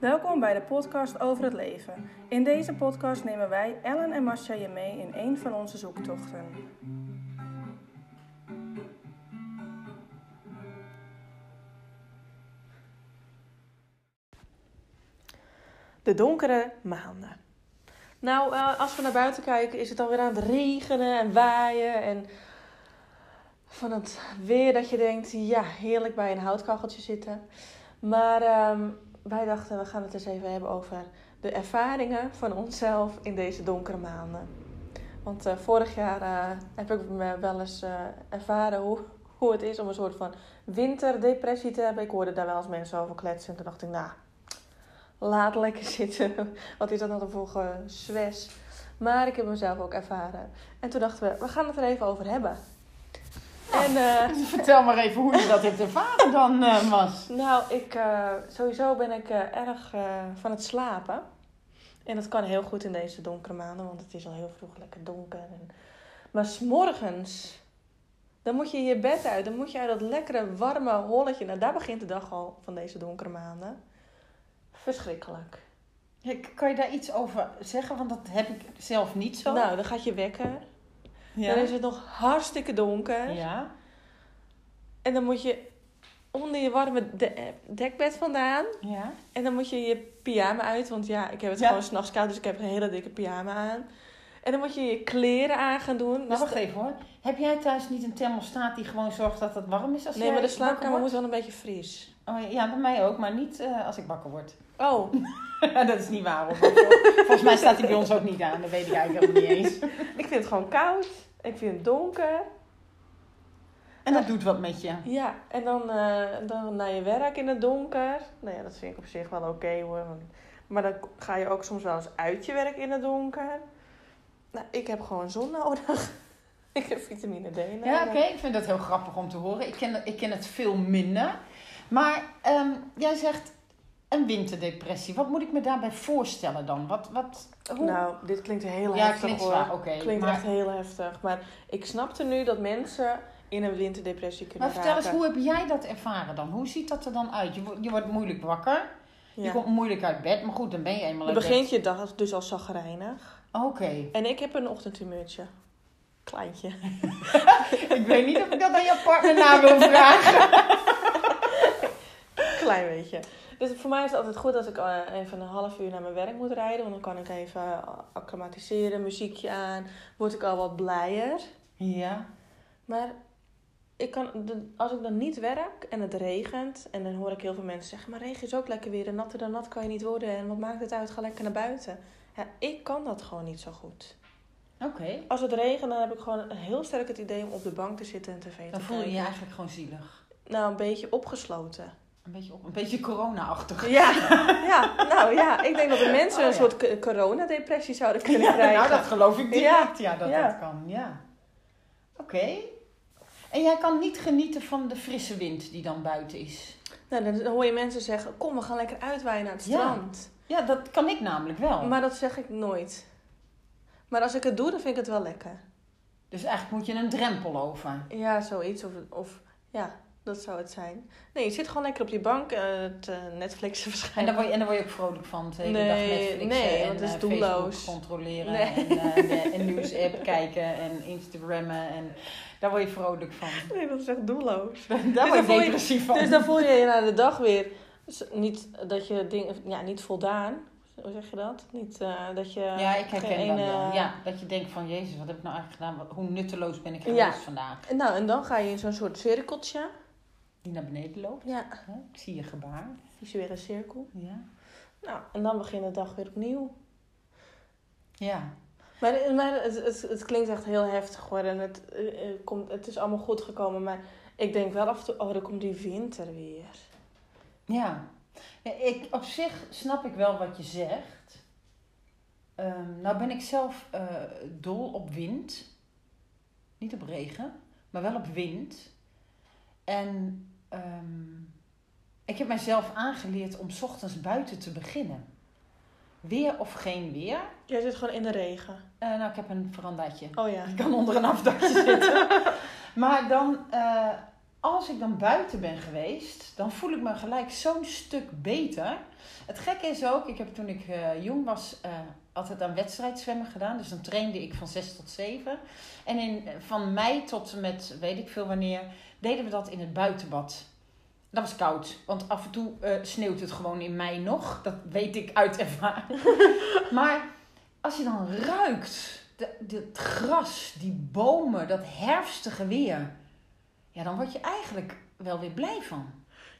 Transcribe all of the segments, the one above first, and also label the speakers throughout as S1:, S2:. S1: Welkom bij de podcast over het leven. In deze podcast nemen wij Ellen en Masha je mee in een van onze zoektochten. De donkere maanden. Nou, eh, als we naar buiten kijken, is het alweer aan het regenen en waaien. En van het weer dat je denkt, ja, heerlijk bij een houtkacheltje zitten. Maar ehm, wij dachten, we gaan het eens even hebben over de ervaringen van onszelf in deze donkere maanden. Want eh, vorig jaar eh, heb ik me wel eens eh, ervaren hoe, hoe het is om een soort van winterdepressie te hebben. Ik hoorde daar wel eens mensen over kletsen. En toen dacht ik, nou, laat lekker zitten. Wat is dat nou voor zwes? Maar ik heb mezelf ook ervaren. En toen dachten we, we gaan het er even over hebben. En eh,
S2: Vertel maar even hoe je dat hebt ervaren dan, eh Mas.
S1: Nou, ik, eh, sowieso ben ik eh, erg eh, van het slapen. En dat kan heel goed in deze donkere maanden, want het is al heel vroeg lekker donker. En... Maar s'morgens, dan moet je je bed uit. Dan moet je uit dat lekkere, warme holletje. Nou, daar begint de dag al van deze donkere maanden. Verschrikkelijk.
S2: Ja, k- Kan je daar iets over zeggen? Want dat heb ik zelf niet zo.
S1: Nou, dan gaat je wekker.
S2: ja.
S1: Dan is het nog hartstikke donker.
S2: ja.
S1: En dan moet je onder je warme de- dekbed vandaan.
S2: ja.
S1: En dan moet je je pyjama uit, want ja, ik heb het
S2: Ja.
S1: gewoon s'nachts koud, dus ik heb een hele dikke pyjama aan. En dan moet je je kleren aan gaan doen. Dus
S2: Maar Nou, wacht
S1: de-
S2: even hoor. Heb jij thuis niet een thermostaat die gewoon zorgt dat het warm is als
S1: nee,
S2: jij
S1: maar de
S2: wakker
S1: slaapkamer moet
S2: wordt?
S1: wel een beetje fris.
S2: Oh, ja, bij mij ook, maar niet eh, als ik wakker word.
S1: Oh,
S2: dat is niet waar hoor. Volgens mij staat die bij ons ook niet aan. Dat weet ik eigenlijk helemaal niet eens.
S1: ik vind het gewoon koud. Ik vind het donker.
S2: En dat doet wat met je.
S1: Ja, en dan, eh, dan naar je werk in het donker. Nou ja, dat vind ik op zich wel oké hoor. want- Maar dan ga je ook soms wel eens uit je werk in het donker. Nou, ik heb gewoon zon nodig. ik heb vitamine D nodig.
S2: Ja, oké, ik vind dat heel grappig om te horen. Ik ken, ik ken het veel minder. Maar ehm, jij zegt een winterdepressie. Wat moet ik me daarbij voorstellen dan? Wat, wat, hoe?
S1: Nou, dit klinkt heel
S2: ja,
S1: heftig
S2: klinkt
S1: hoor.
S2: zwaar, oké.
S1: Klinkt echt
S2: Maar,
S1: heel heftig. Maar ik snapte nu dat mensen in een winterdepressie kunnen
S2: maar vertel eens,
S1: raken.
S2: hoe heb jij dat ervaren dan? Hoe ziet dat er dan uit? Je, wo- je wordt moeilijk wakker. Je
S1: Ja.
S2: komt moeilijk uit bed. Maar goed, dan ben je eenmaal
S1: Je
S2: uit
S1: begint je dag dus al zagrijnig.
S2: bed. Oké.
S1: En ik heb een ochtendhumeurtje. Kleintje.
S2: ik weet niet of ik dat aan je partner na wil vragen.
S1: Klein beetje. Dus voor mij is het altijd goed dat ik eh, even een half uur naar mijn werk moet rijden. Want dan kan ik even eh, acclimatiseren, muziekje aan. Word ik al wat blijer.
S2: Ja.
S1: Maar ik kan, de- als ik dan niet werk en het regent, en dan hoor ik heel veel mensen zeggen: Maar regen is ook lekker weer en natter dan nat kan je niet worden. En wat maakt het uit? Ga lekker naar buiten. Ja, ik kan dat gewoon niet zo goed.
S2: Oké.
S1: Als het regent, dan heb ik gewoon heel sterk het idee om op de bank te zitten en tv te
S2: Dan
S1: kijken.
S2: voel je je eigenlijk gewoon zielig.
S1: Nou, een beetje opgesloten.
S2: Een beetje, op- een beetje corona-achtig.
S1: Ja, ja, nou ja, ik denk dat de mensen
S2: Oh,
S1: een
S2: ja.
S1: soort k- coronadepressie zouden kunnen
S2: Ja,
S1: krijgen.
S2: nou, dat geloof ik direct, ja, dat
S1: Ja.
S2: dat kan, ja. Oké. En jij kan niet genieten van de frisse wind die dan buiten is?
S1: Nou, dan hoor je mensen zeggen: Kom, we gaan lekker uitwaaien naar het
S2: Ja.
S1: strand.
S2: Ja, dat kan ik namelijk wel.
S1: Maar dat zeg ik nooit. Maar als ik het doe, dan vind ik het wel lekker.
S2: Dus eigenlijk moet je een drempel over.
S1: Ja, zoiets. Of, of ja, dat zou het zijn. Nee, je zit gewoon lekker op je bank eh te Netflixen
S2: En daar
S1: waarschijnlijk.
S2: word je, en daar word je ook vrolijk van, de hele
S1: Nee,
S2: dag Netflixen
S1: nee,
S2: en
S1: want het is
S2: eh,
S1: doelloos.
S2: Facebook controleren
S1: Nee.
S2: en, eh, de- en nieuws-app kijken en Instagrammen. En daar word je vrolijk van.
S1: Nee, dat is echt doelloos.
S2: Daar word je
S1: Dus voel je-
S2: depressief van.
S1: Dus dan voel je je na de dag weer s- niet dat je dingen, ja, niet voldaan. Hoe zeg je dat? Niet eh, dat je.
S2: ja, ik herken
S1: geen eh,
S2: dat
S1: ene-
S2: wel. Ja, dat je denkt van, jezus, wat heb ik nou eigenlijk gedaan? Wat- Hoe nutteloos ben ik geweest
S1: Ja.
S2: vandaag?
S1: En Nou, en dan ga je in zo'n soort cirkeltje.
S2: Die naar beneden loopt.
S1: Ja,
S2: Hè? Ik zie je gebaar.
S1: visuele cirkel.
S2: Ja.
S1: Nou, en dan begint de dag weer opnieuw.
S2: Ja.
S1: Maar, maar het, het, het klinkt echt heel heftig hoor. En het, eh, eh, komt, het is allemaal goed gekomen. Maar ik denk wel af en toe, oh, dan komt die winter weer.
S2: Ja. Ja, ik, op zich snap ik wel wat je zegt. Ehm, nou ben ik zelf eh, dol op wind. Niet op regen, maar wel op wind. En ehm, ik heb mijzelf aangeleerd om 's ochtends buiten te beginnen. Weer of geen weer.
S1: Jij zit gewoon in de regen.
S2: Eh, nou, ik heb een verandaatje.
S1: Oh ja.
S2: Je kan onder een afdakje zitten. Maar dan eh, als ik dan buiten ben geweest, dan voel ik me gelijk zo'n stuk beter. Het gekke is ook, ik heb toen ik eh, jong was eh, altijd aan wedstrijdzwemmen gedaan. Dus dan trainde ik van 6 tot 7. En in, van mei tot en met weet ik veel wanneer, deden we dat in het buitenbad. Dat was koud, want af en toe eh, sneeuwt het gewoon in mei nog. Dat weet ik uit ervaring. maar als je dan ruikt, de- de- het gras, die bomen, dat herfstige weer. Ja, dan word je eigenlijk wel weer blij van.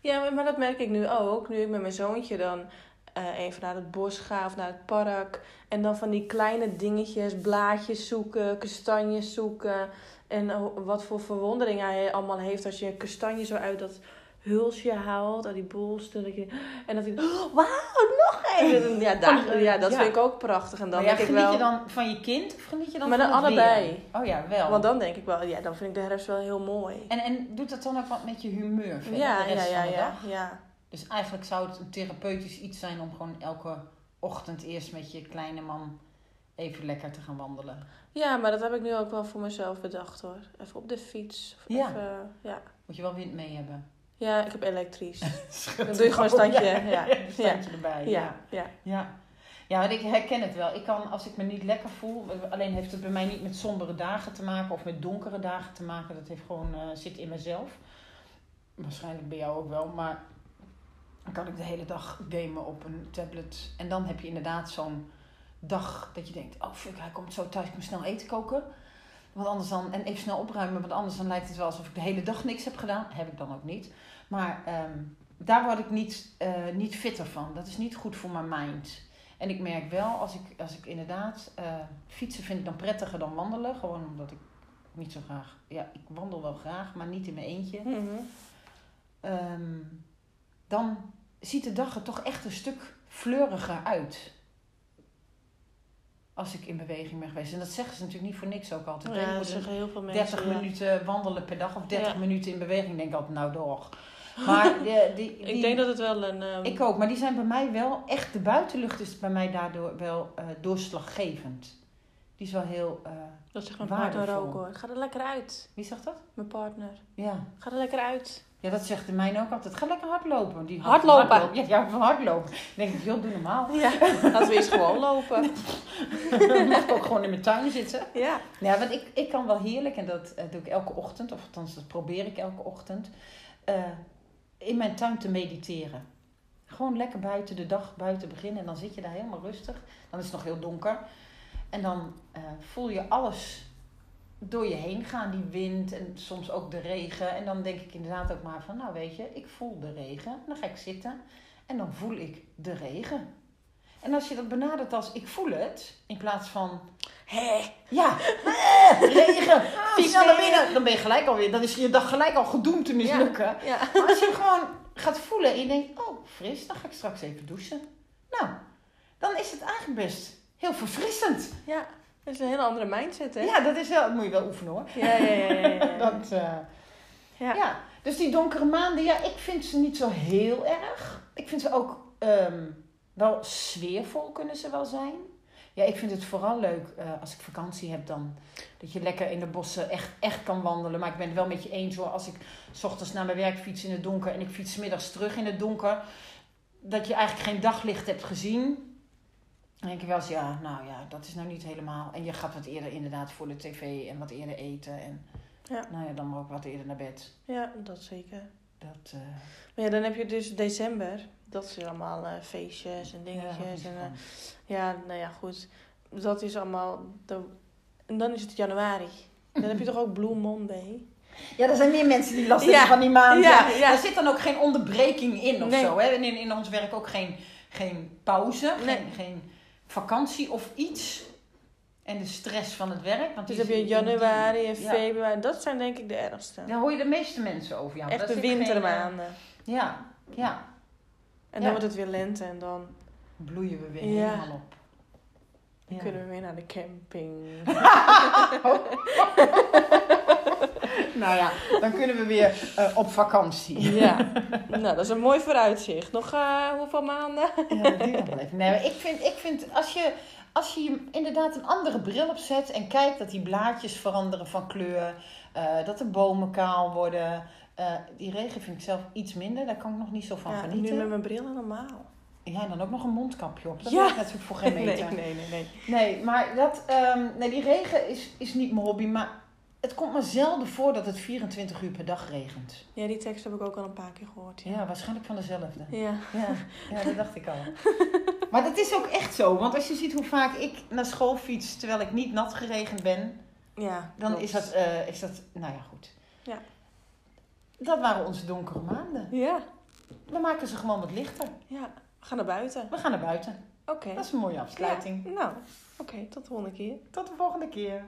S1: Ja, maar- maar dat merk ik nu ook. Nu ik met mijn zoontje dan eh, even naar het bos ga of naar het park. En dan van die kleine dingetjes, blaadjes zoeken, kastanjes zoeken. En ho- wat voor verwondering hij allemaal heeft als je een kastanje zo uit dat hulsje haalt, uit die bolster. Dat je, en dat hij, "Oh, wauw, nog één! Ja, daar, ja dat
S2: Ja.
S1: vind ik ook prachtig. En dan
S2: maar ja,
S1: denk ik
S2: geniet
S1: wel...
S2: je dan van je kind of geniet je dan
S1: Maar
S2: van
S1: dan
S2: het
S1: allebei.
S2: weer? Oh ja, wel.
S1: Want dan denk ik wel, ja, dan vind ik de herfst wel heel mooi.
S2: En, en doet dat dan ook wat met je humeur verder
S1: Ja,
S2: de rest
S1: ja, ja,
S2: van de
S1: ja,
S2: dag?
S1: ja.
S2: Dus eigenlijk zou het een therapeutisch iets zijn om gewoon elke ochtend eerst met je kleine man even lekker te gaan wandelen.
S1: Ja, maar dat heb ik nu ook wel voor mezelf bedacht hoor. Even op de fiets. Of
S2: Ja.
S1: Even, ja.
S2: Moet je wel wind mee hebben.
S1: ja, ik heb elektrisch.
S2: Dan
S1: doe je gewoon een standje, ja.
S2: een standje erbij.
S1: ja, ja.
S2: Oh, Ja. Ja, want ik herken het wel. Ik kan, als ik me niet lekker voel, alleen heeft het bij mij niet met sombere dagen te maken of met donkere dagen te maken. Dat heeft gewoon, eh, zit in mezelf. Waarschijnlijk bij jou ook wel, maar dan kan ik de hele dag gamen op een tablet. En dan heb je inderdaad zo'n dag dat je denkt, oh fuck, hij komt zo thuis, ik moet snel eten koken. Want anders dan, en even snel opruimen, want anders dan lijkt het wel alsof ik de hele dag niks heb gedaan. Heb ik dan ook niet. Maar ehm, daar word ik niet, eh, niet fitter van. Dat is niet goed voor mijn mind. En ik merk wel, als ik, als ik inderdaad eh, fietsen vind ik dan prettiger dan wandelen. Gewoon omdat ik niet zo graag. Ja, ik wandel wel graag, maar niet in mijn eentje.
S1: Mhm.
S2: Ehm, dan ziet de dag er toch echt een stuk fleuriger uit. Als ik in beweging ben geweest. En dat zeggen ze natuurlijk niet voor niks ook altijd. hè.
S1: Ja,
S2: Je
S1: dat
S2: moet een-
S1: zeggen heel veel mensen.
S2: 30
S1: ja.
S2: minuten wandelen per dag of 30
S1: Ja.
S2: minuten in beweging. Denk ik altijd, nou door. Maar die, die, die,
S1: Ik denk dat het wel een. ehm,
S2: ik ook, maar die zijn bij mij wel echt. De buitenlucht is bij mij daardoor wel eh, doorslaggevend. Die is wel heel. eh,
S1: dat zegt mijn partner
S2: waardevol.
S1: ook hoor. Ga er lekker uit.
S2: wie zegt dat?
S1: Mijn partner.
S2: Ja.
S1: Ga er lekker uit.
S2: ja, dat zegt de mijne ook altijd. Ga lekker hardlopen. Die
S1: Hardlopen.
S2: Ja, ja, van hardlopen. Dan denk ik, joh, doe normaal.
S1: Ja, laten we eens gewoon lopen.
S2: Dan mag ik ook gewoon in mijn tuin zitten.
S1: Ja.
S2: Ja, want ik, ik kan wel heerlijk, en dat eh, doe ik elke ochtend, of althans dat probeer ik elke ochtend, eh, in mijn tuin te mediteren. Gewoon lekker buiten de dag, buiten beginnen. En dan zit je daar helemaal rustig. Dan is het nog heel donker. En dan eh, voel je alles door je heen gaan. Die wind en soms ook de regen. En dan denk ik inderdaad ook maar van, nou weet je, ik voel de regen. Dan ga ik zitten en dan voel ik de regen. En als je dat benadert als ik voel het, in plaats van
S1: Hé.
S2: ja, Eh, regen, ah,
S1: Fiets
S2: snel naar
S1: mee.
S2: binnen. Dan ben je gelijk alweer, dan is je dag gelijk al gedoemd te mislukken.
S1: Ja.
S2: Maar als je gewoon gaat voelen en je denkt, oh fris, dan ga ik straks even douchen. Nou, dan is het eigenlijk best heel verfrissend.
S1: ja. Dat is een hele andere mindset, hè?
S2: Ja, dat is wel, dat moet je wel oefenen hoor.
S1: ja, ja, ja. ja, ja.
S2: Dat, eh,
S1: Ja.
S2: ja. dus die donkere maanden, ja, ik vind ze niet zo heel erg. Ik vind ze ook ehm, wel sfeervol kunnen ze wel zijn. Ja, ik vind het vooral leuk eh, als ik vakantie heb dan. Dat je lekker in de bossen echt, echt kan wandelen. Maar ik ben het wel met je eens hoor. Als ik 's ochtends naar mijn werk fiets in het donker en ik fiets 's middags terug in het donker. Dat je eigenlijk geen daglicht hebt gezien. Dan denk je wel eens, ja, nou ja, dat is nou niet helemaal. En je gaat wat eerder inderdaad voor de tv en wat eerder eten. En
S1: Ja.
S2: nou ja, dan maar ook wat eerder naar bed.
S1: ja, dat zeker.
S2: Dat, eh,
S1: Maar ja, dan heb je dus december. Dat is weer allemaal eh, feestjes en
S2: ja, daar hou
S1: dingetjes.
S2: ik
S1: en, eh,
S2: van.
S1: Ja, nou ja, goed. Dat is allemaal. de- En dan is het januari. Dan heb je toch ook Blue Monday?
S2: ja, er zijn meer mensen die last
S1: Ja.
S2: hebben van die maand.
S1: Ja,
S2: Ja,
S1: ja.
S2: Er zit dan ook geen onderbreking in of
S1: Nee.
S2: zo. Hè? En in, in ons werk ook geen, geen pauze,
S1: Nee.
S2: geen, geen vakantie of iets. En de stress van het werk. Want
S1: Dus
S2: die
S1: heb je
S2: zit in die-
S1: januari en
S2: Ja.
S1: februari. Dat zijn denk ik de ergste.
S2: Daar hoor je de meeste mensen over. Ja, maar
S1: Echt
S2: daar
S1: de
S2: zit geen, eh,
S1: wintermaanden.
S2: ja, ja.
S1: En dan
S2: ja.
S1: wordt het weer lente en dan
S2: Bloeien we weer
S1: Ja.
S2: helemaal op. Ja.
S1: kunnen we weer naar de camping.
S2: Nou ja, dan kunnen we weer eh, op vakantie.
S1: ja, nou dat is een mooi vooruitzicht. Nog eh, hoeveel maanden?
S2: Ja, dat duurt nog wel even. Nee, maar ik vind, ik vind als, je, Als je je inderdaad een andere bril opzet en kijkt dat die blaadjes veranderen van kleur, eh, dat de bomen kaal worden. eh, die regen vind ik zelf iets minder, daar kan ik nog niet zo van
S1: Ja, en nu
S2: genieten.
S1: met mijn bril normaal.
S2: Ja, en dan ook nog een mondkapje op. Dat
S1: Ja.
S2: maakt natuurlijk voor geen meter.
S1: Nee, nee, nee. nee.
S2: Nee, maar dat, ehm, nee, die regen is, is niet mijn hobby. Maar het komt me zelden voor dat het 24 uur per dag regent.
S1: Ja, die tekst heb ik ook al een paar keer gehoord. Ja.
S2: Ja, waarschijnlijk van dezelfde.
S1: Ja.
S2: Ja, ja dat dacht ik al. Maar dat is ook echt zo. Want als je ziet hoe vaak ik naar school fiets terwijl ik niet nat geregend ben,
S1: ja
S2: dan
S1: klopt.
S2: is dat, eh, is dat, nou ja, goed.
S1: Ja.
S2: Dat waren onze donkere maanden.
S1: Ja,
S2: We maken ze gewoon wat lichter.
S1: ja. We gaan naar buiten.
S2: We gaan naar buiten.
S1: Oké.
S2: Dat is een mooie afsluiting.
S1: Ja, nou, oké, tot de volgende keer.
S2: Tot de volgende keer.